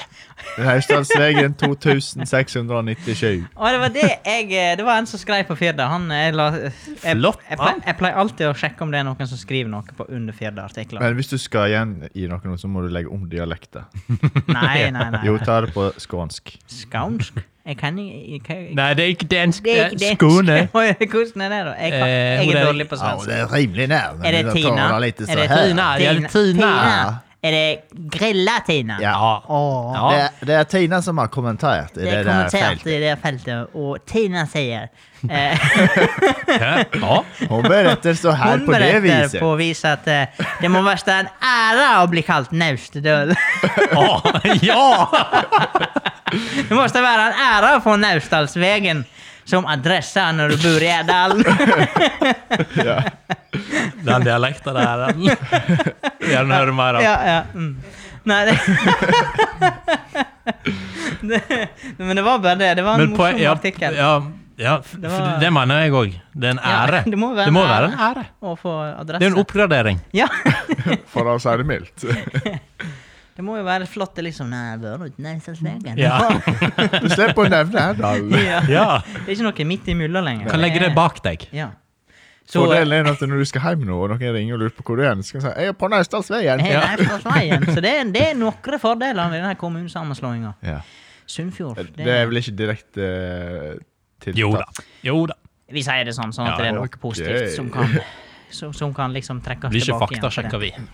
S3: Haustlandsvegen 2697.
S1: Og det var det jeg eh, Det var en som skrev på Firda. Han jeg la, eh, jeg,
S2: Flott,
S1: jeg,
S2: mann.
S1: pleier, jeg pleier alltid å sjekke om det er noen som skriver noe på under Firda-artikler.
S3: Men hvis du skal igjen i noe, nå, så må du legge om dialekten.
S1: Nei, nei, nei.
S3: Jo,
S1: nei.
S3: ta det på skånsk.
S1: Skaunsk? Jeg kan ikke jeg-
S2: Nei, det er ikke dansk.
S1: Det er ikke det.
S2: Skåne.
S1: Hvordan er det, da? Jeg, kan,
S2: Eh,
S1: jeg
S2: hvor
S1: er
S2: er-
S1: dårlig på svensk.
S3: er rimelig nær.
S1: Er det Tina? Er det
S3: sånn
S1: Tina?
S2: Ja, det er Tina.
S1: Er det Grilla-Tina?
S3: Ja.
S1: Åh.
S2: Ja.
S3: er Tina som har kommentert i
S1: Det er kommentert i det feltet, og Tina sier eh,
S2: Hæ? Ja.
S3: Hun beretter så
S1: Hun beretter på viset at eh, det må være en ære å bli kalt Naustedøl.
S2: Å, ja!
S1: Det måste være en ære å få Naustdalsvegen som adresse når du bor i Edalen.
S2: Den dialekten der. den. Gjerne høre mer av.
S1: ja, ja. Mm. Nei, det... det Men det var bare det. Det var en
S2: Men på,
S1: morsom
S2: ja,
S1: artikkel.
S2: ja, ja, f-
S1: Det
S2: det,
S1: var-
S2: det mener jeg òg. Det er en
S1: Ja,
S2: ære.
S1: det må være
S2: det må
S1: en ære.
S2: være en ære.
S1: Å få adresse.
S2: Det er jo en oppgradering.
S1: Ja,
S3: For å si det mildt.
S1: det må jo være flott. det Liksom, nei, jeg bor ikke Naustdalsvegen.
S2: Ja.
S3: Du slipper å nevne Erdal.
S1: ja.
S2: Ja.
S1: Det er ikke noe midt imellom lenger.
S2: Kan legge det bak deg.
S1: Eh, Ja. Så
S3: Fordelen er at når du skal hjem nå, og noen ringer og lurer på hvor du er, så kan du si 'Jeg er på Naustdalsveien'.
S1: Hei, Naustdalsveien. Så det er, det er noen fordeler med denne kommunesammenslåinga.
S3: Ja.
S1: Sunnfjord. det-
S3: Det er vel ikke direkte uh, tiltak?
S2: Jo da. Jo da.
S1: Vi sier det sånn, sånn at
S2: Ja,
S1: det er noe
S3: ok.
S1: positivt som kan, som, som kan liksom trekke oss
S2: Blir ikke
S1: tilbake igjen.
S2: faktasjekka, vi.
S1: vi.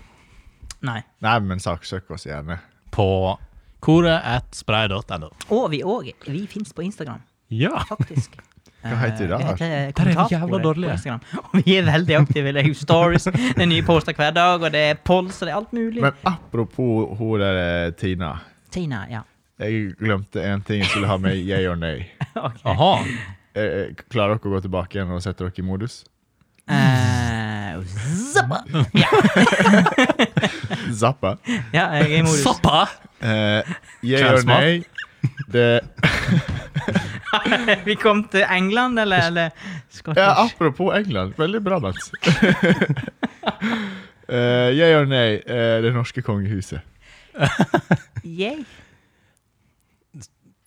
S1: Nei.
S3: Nei, men saksøk oss gjerne.
S2: På koret.spray.no.
S1: Og vi òg. Vi fins på Instagram,
S2: Ja.
S1: faktisk.
S3: Hva heter vi da?
S1: Eh, vi heter
S2: Der er vi
S1: Kommentarsporet
S2: jævla dårlige.
S1: på Instagram. Og vi er veldig aktive. Det er jo stories, det er nye poster hver dag, og det er polls, og det er alt mulig.
S3: Men apropos hun der eh, Tina.
S1: Tina, ja.
S3: Jeg glemte en ting jeg skulle ha med yay or nay.
S1: Ok.
S2: Aha.
S3: Eh, eh, Klarer dere å gå tilbake igjen og sette dere i modus?
S1: Eh, zappa.
S3: Zappa.
S1: ja, jeg er i modus.
S2: Soppa!
S3: Eh, yay or
S2: Kjærestemann.
S3: nay? Det,
S1: vi kom til England, eller, eller
S3: ja,
S1: Scottish?
S3: apropos England. Veldig bra, Mats. Eh, yay or nay? eh, det norske kongehuset.
S1: Yay.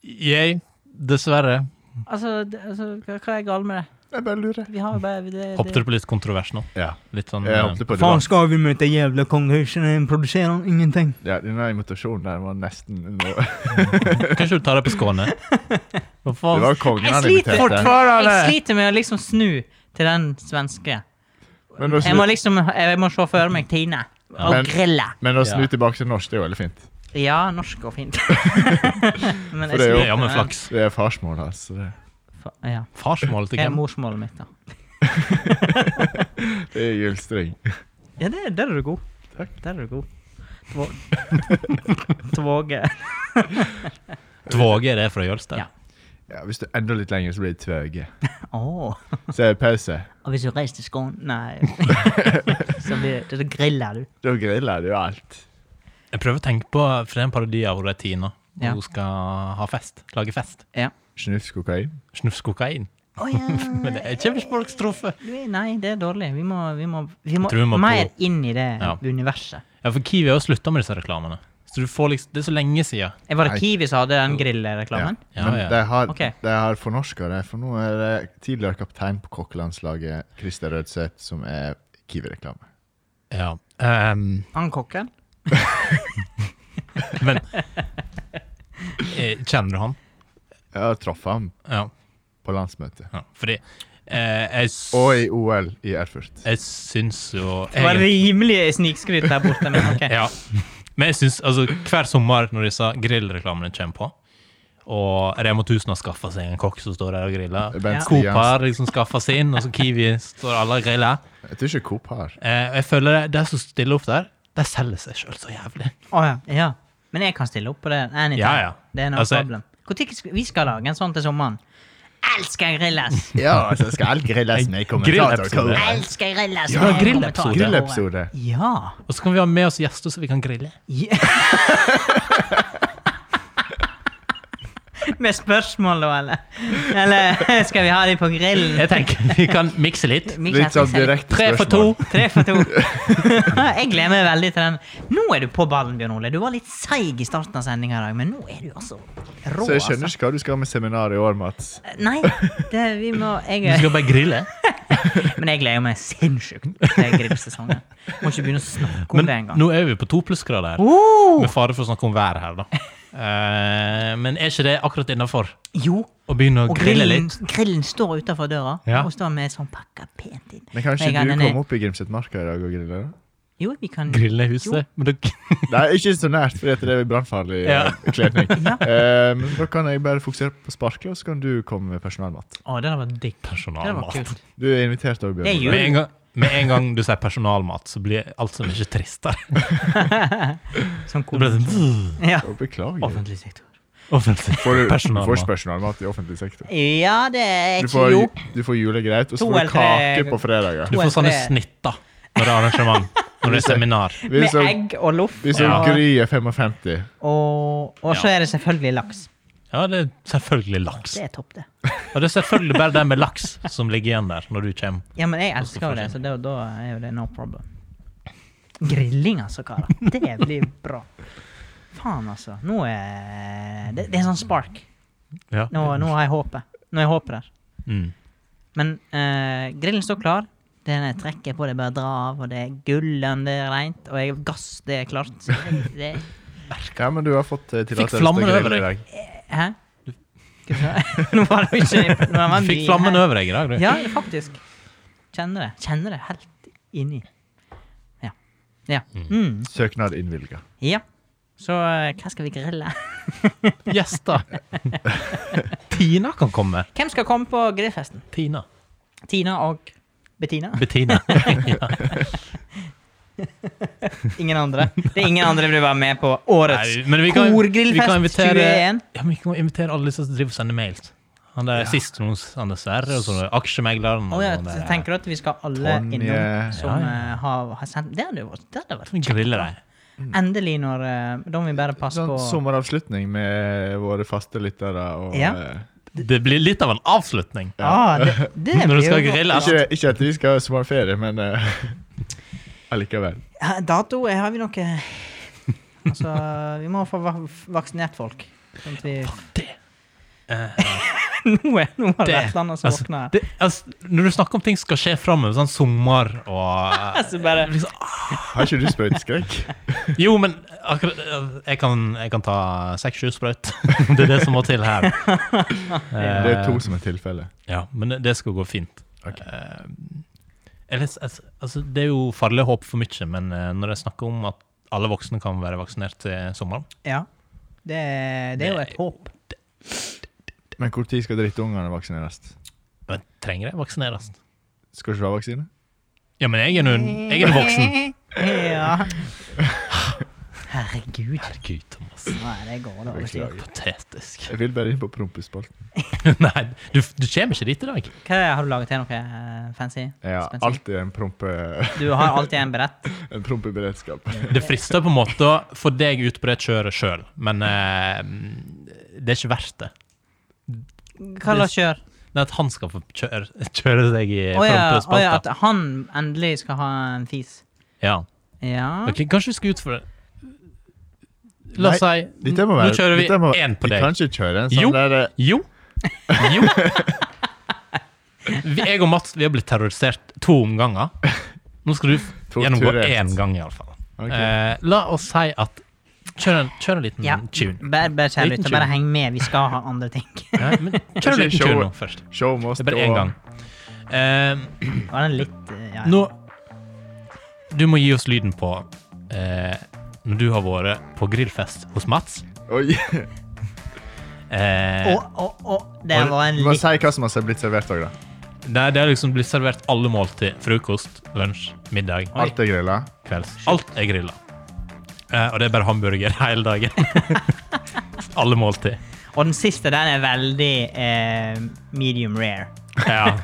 S2: Jeg Dessverre.
S1: Altså, det, altså hva, hva er galt med det?
S3: Jeg bare lurer.
S1: Vi har jo bare det, det.
S2: Hoppet du på litt kontrovers nå?
S3: Ja.
S2: Litt sånn
S3: Jeg
S2: eh,
S3: håpte på debatt.
S1: skal vi møte jævla kongehuset? Produserer han ingenting?
S3: Ja, denne invitasjonen der var nesten under
S2: Kanskje du tar det på Skåne? Hva
S3: Det eh?
S2: faen?
S3: var kongen
S1: Jeg
S3: han
S1: sliter
S3: inviterte.
S1: Jeg
S2: Fortfarande!
S1: sliter med å liksom snu til den svenske.
S3: Men å
S1: Jeg må
S3: snu,
S1: liksom jeg må se for meg Tine og
S3: Men-
S1: grille.
S3: men å snu
S2: Ja.
S3: tilbake til norsk, det er jo veldig fint.
S1: Ja, norsk og fint. Men
S3: For det er jo-
S2: Ja, men flaks.
S3: Det er farsmål, altså. Det,
S1: Fa- Ja.
S2: Farsmål til
S1: Det er
S2: hvem?
S1: morsmålet mitt, da.
S3: det er gylstring.
S1: Ja, det, der er du god.
S3: Takk.
S1: Der er du god. Två- Tvåge.
S2: Tvåge er det fra Jølster?
S1: Ja.
S3: Ja, hvis du er enda litt lenger, så blir det tvøge.
S1: Åh.
S3: Så er det pause.
S1: Og hvis du reiser til Skåne Nei. Så blir det, så griller du.
S3: Da griller du alt.
S2: Jeg prøver å tenke på, for det er en parodi av hun der Tina. og
S1: Ja.
S2: Hun skal ha fest. Lage fest.
S3: Snufs kokain.
S2: Snufs kokain.
S1: Å ja.
S2: Men det er kjempesporkstrofe.
S1: Du, Nei, det er dårlig. Vi må, vi må, vi må,
S2: tror vi må på-
S1: mer inn i det
S2: Ja.
S1: universet.
S2: Ja, for Kiwi har jo slutta med disse reklamene. Så du får liksom, Det er så lenge siden.
S1: Eh, Var
S3: Nei.
S1: det Kiwi som hadde den grillreklamen?
S2: Ja,
S3: Men
S2: ja.
S3: de har,
S1: Ok.
S3: de har fornorska det, for nå er det tidligere kaptein på kokkelandslaget, Christer Rødseth, som er Kiwi-reklame.
S2: Ja. Ehm,
S1: Han kokken?
S2: men eh, Kjenner du han?
S3: Jeg traff ham
S2: Ja.
S3: på landsmøtet.
S2: ja. Fordi eh, jeg, s-
S3: Og i OL i Erfurt.
S2: jeg syns jo
S1: Det var
S2: egentlig-
S1: rimelig snikskryt der borte, men OK.
S2: Ja. Men jeg synes, altså, hver sommer når disse grillreklamene kommer på, og Rema 1000 har skaffa seg en kokk som står der og griller
S3: Bent
S1: Ja.
S2: Coop
S3: Stians.
S2: har liksom skaffa sin, og så Kiwi står alle og griller.
S3: Jeg tror ikke Coop har.
S2: Eh, og jeg føler det, De som stiller opp der, de selger seg sjøl så jævlig.
S1: Å ja. ja. Men jeg kan stille opp på det. Anytime.
S2: Ja, ja.
S1: Det er no
S2: Altså, jeg-
S1: problem. Hvor tid skal- vi skal lage en sånn til sommeren. Elsker grilles!
S3: Ja, altså skal alt grilles med
S2: grillepisode.
S1: Elsker grilles!
S2: Ja,
S1: med
S2: grillepisode.
S1: kommentar.
S3: Grillepisode.
S1: Ja.
S2: Og så kan vi ha med oss gjester så vi kan grille.
S1: Ja. Med spørsmål, da, eller? Eller skal vi ha de på grillen?
S2: Jeg tenker Vi kan mikse litt.
S3: Litt sånn direkte
S2: Tre for to.
S3: spørsmål.
S1: Tre for to. Jeg gleder meg veldig til den. Nå er du på ballen, Bjørn Ole. Du var litt seig i starten av sendinga i dag, men nå er du altså rå.
S3: Så jeg skjønner ikke hva du skal med seminar i år, Mats.
S1: Altså. Nei, det, vi må
S2: Du
S1: jeg,
S2: skal bare grille.
S1: Men jeg gleder meg sinnssykt til grillsesongen. Må ikke begynne å snakke om det
S2: Men
S1: engang.
S2: nå er vi på to plussgrader.
S1: Oh!
S2: Med fare for å snakke om været her, da. Eh, men er ikke det akkurat innafor
S1: Jo,
S2: å begynne å
S1: og
S2: grille
S1: grillen,
S2: litt?
S1: grillen står utafor døra
S2: Ja.
S1: og står med sånn pakka pent inn.
S3: Men kanskje
S1: Jeg er
S3: du
S1: enig.
S3: kommer opp i Grimsetmarka i dag og griller? da?
S1: Jo, vi kan
S2: Grille
S1: Jo.
S2: huset? Men da
S3: Nei, ikke så nært, for det er brannfarlig
S2: Ja.
S3: eh, kledning.
S1: Ja.
S3: Eh, Men da kan jeg bare fokusere på sparkle, og så kan du komme med personalmat.
S1: Å, det der var digg. Det der var
S2: Personalmat.
S1: kult.
S3: Du er invitert òg, Bjørn.
S1: Det er
S3: Ole.
S2: Med en, gang, med en gang du sier personalmat, så blir alt så mye tristere.
S1: Sånn
S2: Det blir
S1: kos.
S2: sånn
S1: Ja.
S3: Å, Beklager.
S1: Offentlig sektor.
S2: offentlig.
S3: Får du
S2: Personalmat.
S3: får personalmat i offentlig sektor.
S1: Ja, det er
S3: Du
S1: ikke
S3: får,
S1: jo.
S3: du får julegreit, og så
S1: To
S3: får
S1: eller
S3: du
S1: tre-
S3: kake på fredager.
S2: Du får sånne snitt da, når det er arrangement. Når det er seminar.
S3: Vi
S1: Med
S3: så,
S1: egg og loff.
S3: vi så
S2: Ja.
S3: Gry er 55.
S1: Og, og så
S2: Ja.
S1: er det selvfølgelig laks.
S2: Ja, det er selvfølgelig laks.
S1: Det er topp, det.
S2: Og det er selvfølgelig bare det med laks som ligger igjen der når du kommer.
S1: Ja, men jeg elsker jo det, så det, da er jo det no problem. Grilling, altså, karer. Det blir bra. Faen, altså. Nå er det, det er sånn spark.
S2: Ja.
S1: Nå, nå har jeg håpet. Nå er håpet der.
S2: Mm.
S1: Men eh, grillen står klar. Den er trekket på, det er bare å dra av, og det er gullen, det er rent, og jeg, gass, det er klart. Så det, det,
S3: Ja, men du har fått eh, tillatelse til å
S2: flammer over
S3: grille
S2: deg.
S3: i dag.
S1: Hæ? Hva sa jeg? Nå var det jo ikke nå var det
S2: Du fikk
S1: mye
S2: flammen
S1: her.
S2: over deg i dag, du.
S1: Ja, faktisk. Kjenner det. Kjenner det helt inni. Ja. Ja. Mm.
S3: Søknad innvilga.
S1: ja. Så eh, hva skal vi grille?
S2: Gjester. Tina kan komme.
S1: Hvem skal komme på grillfesten?
S2: Tina.
S1: Tina og Bettina?
S2: Bettina. Ja.
S1: Ingen andre? Det er ingen andre vi vil være med på årets
S2: Nei, men vi kan- vi
S1: korgrillfest eh,
S2: kan invitere-
S1: 21?
S2: Ja, men vi kan invitere alle disse som driver og sender mails. Han der sist hos han Sverre, og så er det aksjemegleren.
S1: Å ja,
S2: og
S1: så
S2: det-
S1: tenker du at vi skal alle
S3: Tonje.
S1: innom som
S2: Ja, ja. Mm.
S1: eh, har, har sendt Det hadde jo vært, det hadde vært
S2: Vi griller deg.
S1: Endelig, når eh, Da må vi bare passe
S3: Sånn
S1: på
S3: sommeravslutning med våre faste lyttere. Og,
S1: Ja.
S3: eh,
S2: Det blir litt av en avslutning.
S1: Ah, det, det
S2: Når du
S1: blir jo
S2: skal
S1: godt.
S2: grille. altså.
S3: ikke, ikke at vi skal ha sommerferie, men eh, allikevel.
S1: Ja, Dato eh, har vi noe Altså, vi må få va- vaksinert folk. Sånn at vi
S2: Fuck det.
S1: Nå er nå var det
S2: Det-
S1: Vestlandet som
S2: Altså,
S1: våkner.
S2: Eh, det, altså, når du snakker om ting som skal skje framover, sånn sommer og
S1: Altså bare
S2: liksom,
S3: Har ikke du sprøyteskrekk?
S2: Jo, men akkurat eh, Jeg kan, jeg kan ta seks-sju sprøyt. det er det som må til her.
S1: Eh.
S3: Det er to som er tilfellet.
S2: Ja, men det- det skal gå fint.
S3: Ok.
S2: Eh, eller, altså, altså, det er jo farlig å håpe for mye, men eh, når jeg snakker om at alle voksne kan være vaksinert til sommeren
S1: Ja. Det, det er jo et håp.
S3: Men hvor tid skal drittungene vaksineres?
S2: Men trenger jeg vaksineres?
S3: Skal ikke du ha vaksine?
S2: Ja, men jeg er nå jeg er nå voksen.
S1: Ja. Herregud.
S2: Herregud, Thomas.
S1: Nei, det går da over tid.
S2: Patetisk.
S3: Jeg vil bare inn på prompespalten.
S2: Nei, du, du kommer ikke dit i dag.
S1: Hva har du laget til noe eh, fancy?
S3: Jeg har
S1: Spenstig?
S3: alltid en, prompe,
S1: Du har alltid en berett.
S3: en prompeberedskap.
S2: Det frister på en måte å få deg ut på det kjøret sjøl, men eh, det er ikke verdt det.
S1: Hva la kjør?
S2: Det er at han skal få kjøre, kjøre seg i
S1: Å ja, å ja, at
S2: prompespalta.
S1: han endelig skal ha en fis.
S2: Ja.
S1: Ja.
S2: Ok, kanskje vi skal ut for det. La oss si
S3: Dette må
S2: Nå
S3: være,
S2: kjører vi
S3: dette må-
S2: en på
S3: Vi
S2: deg.
S3: kan ikke kjøre en sånn
S2: Jo.
S3: der eh,
S2: Jo. Jo. Vi- Jeg og Mats vi har blitt terrorisert to omganger. Nå skal du f- gjennomgå
S3: Torturert.
S2: én gang, iallfall.
S3: Ok.
S2: Eh, la oss si at Kjør en, kjør en liten
S1: ja.
S2: tune.
S1: Bare, bare, kjære
S2: Liten
S1: lytter,
S2: tune.
S1: bare heng med. Vi skal ha andre ting.
S2: Ja, men kjør en
S3: Ikke
S2: liten
S3: show-
S2: tune nå først.
S3: Show must
S2: Det er bare
S3: go
S2: én
S3: on.
S2: gang. Eh,
S1: Var den litt eh, ja.
S2: nå Du må gi oss lyden på eh, når du har vært på grillfest hos Mats.
S3: Oi.
S1: Å,
S2: Eh,
S1: å, å, det var en
S3: Du må
S1: litt
S3: si hva som har blitt servert òg, da.
S2: der det har liksom blitt servert alle måltid. Frokost, lunsj, middag.
S3: Alt er grilla.
S2: kvelds. Alt er grilla. Eh, og det er bare hamburger hele dagen. Alle måltid.
S1: Og den siste, den er veldig eh, medium rare.
S2: Ja.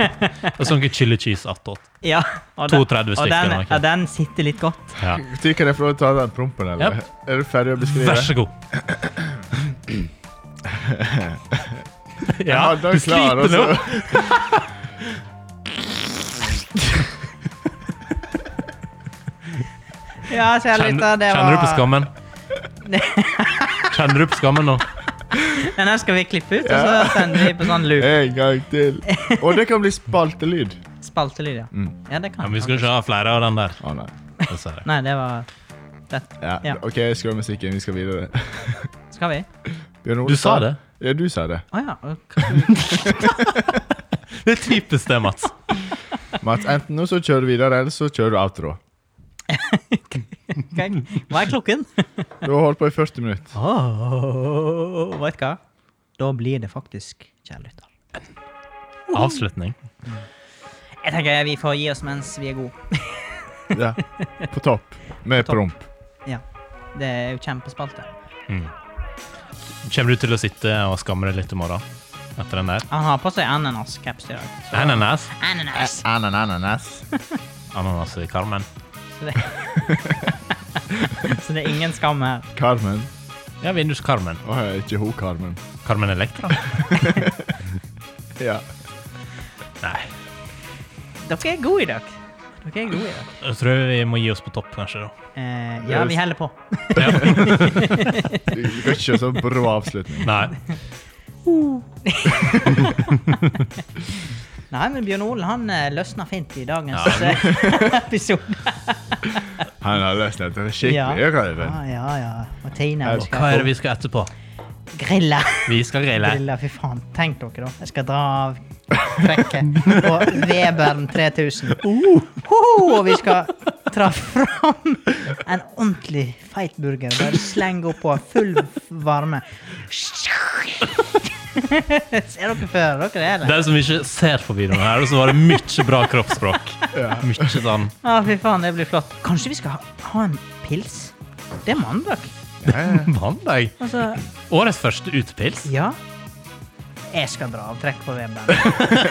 S2: Og så noe chili cheese attåt.
S1: Ja, og
S2: 32
S1: og den,
S2: stykker, eller noe.
S1: ja, den sitter litt godt.
S2: Ja.
S3: Når kan jeg få lov til å ta den prompen, eller? Er du ferdig å beskrive?
S2: Vær så god. Ja,
S3: Ja, da
S2: du
S3: klar,
S2: sliter
S3: altså.
S2: altså. nå.
S1: Ja, kjære
S2: Kjenner,
S1: lytter, det var
S2: kjenner du på skammen? Kjenner du på skammen nå?
S1: Den her skal vi klippe ut, og så sender vi på sånn loop.
S3: En gang til. Og det kan bli spaltelyd.
S1: Spaltelyd, ja.
S3: Mm.
S1: Ja, det
S2: Ja,
S1: kan
S2: men vi skal ikke ha flere av den der.
S3: Å nei.
S2: dessverre.
S1: Nei, det var det.
S3: Ja.
S1: Ja.
S3: OK, skru av musikken. Vi skal videre.
S1: Skal vi?
S3: Bjørn Ole
S2: Du sa det.
S3: Ja, du sa det.
S1: Å ja. ok.
S2: Det er typisk det, Mats.
S3: Mats, enten nå så kjører du videre, eller så kjører du outro.
S1: Ok. Hva er klokken?
S3: Du har holdt på i 40 minutter.
S1: Oh, vet du hva? Da blir det faktisk kjære lytter.
S2: Avslutning.
S1: Jeg tenker vi får gi oss mens vi er gode.
S3: Ja. På topp. Med
S1: topp.
S3: promp.
S1: Ja. Det er jo kjempespalte.
S2: Kommer du til å sitte og skamme deg litt i morgen etter den der?
S1: Han har på seg ananascaps i dag. så-
S2: Ananas.
S1: Ananas.
S3: Ananas.
S2: Ananas i karmen.
S1: Så det, så det er ingen skam her.
S3: Carmen.
S2: Ja, vinduskarmen.
S3: Å, er ikke hun Carmen.
S2: Carmen Electra?
S3: Ja.
S2: Nei.
S1: Dere er gode i dag. Dere er gode i dag.
S2: Jeg tror vi må gi oss på topp, kanskje. da.
S1: Eh, ja, vi holder på.
S3: Du, du kan ikke kjøre sånn brå avslutning.
S2: Nei.
S1: Nei, men Bjørn Olen han eh, løsner fint i dagens
S2: Ja.
S1: eh, episode.
S3: Han har løst dette skikkelig.
S1: Ja.
S3: Ja. Carmen.
S2: Ah.
S1: Ja, ja, ja. Og Tina
S3: Her-
S1: hun
S2: Hva
S1: skal
S2: er det vi skal etterpå?
S1: grille.
S2: Vi skal grille.
S1: Grille, fy faen. Tenk dere, da. Jeg skal dra av trekket på Weberen 3000. Hoho, og vi skal dra fram en ordentlig feit burger. Bare slenge oppå full varme. Ser dere før dere det, eller?
S2: De som ikke ser på videoen her, så var det mye bra kroppsspråk. Mye sånn
S1: Ja, fy faen, det blir flott. Kanskje vi skal ha, ha en pils? Det er mandag.
S2: Mandag.
S1: Altså,
S2: Årets første utepils.
S1: ja. Jeg skal dra avtrekk på Weberen.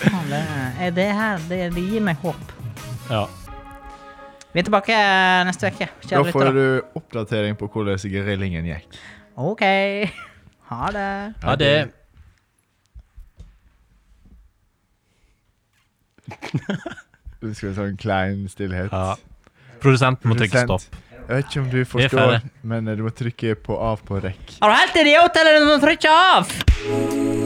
S1: Faen, det, er det her det, det gir meg håp.
S2: Ja.
S1: Vi er tilbake eh, neste uke.
S3: Da
S1: Kjære
S3: får
S1: lyttere.
S3: du oppdatering på hvordan grillingen gikk.
S1: OK. Ha det.
S2: Ha det.
S3: Det skal være sånn klein stillhet.
S2: Ja. Produsenten må trykke
S3: sånn Produsent.
S2: stopp.
S3: Jeg vet ikke om du
S2: er
S3: forstår,
S2: ferdig.
S3: men eh, du må trykke på av på rekk.
S1: Er du helt idiot, eller må du trykke av?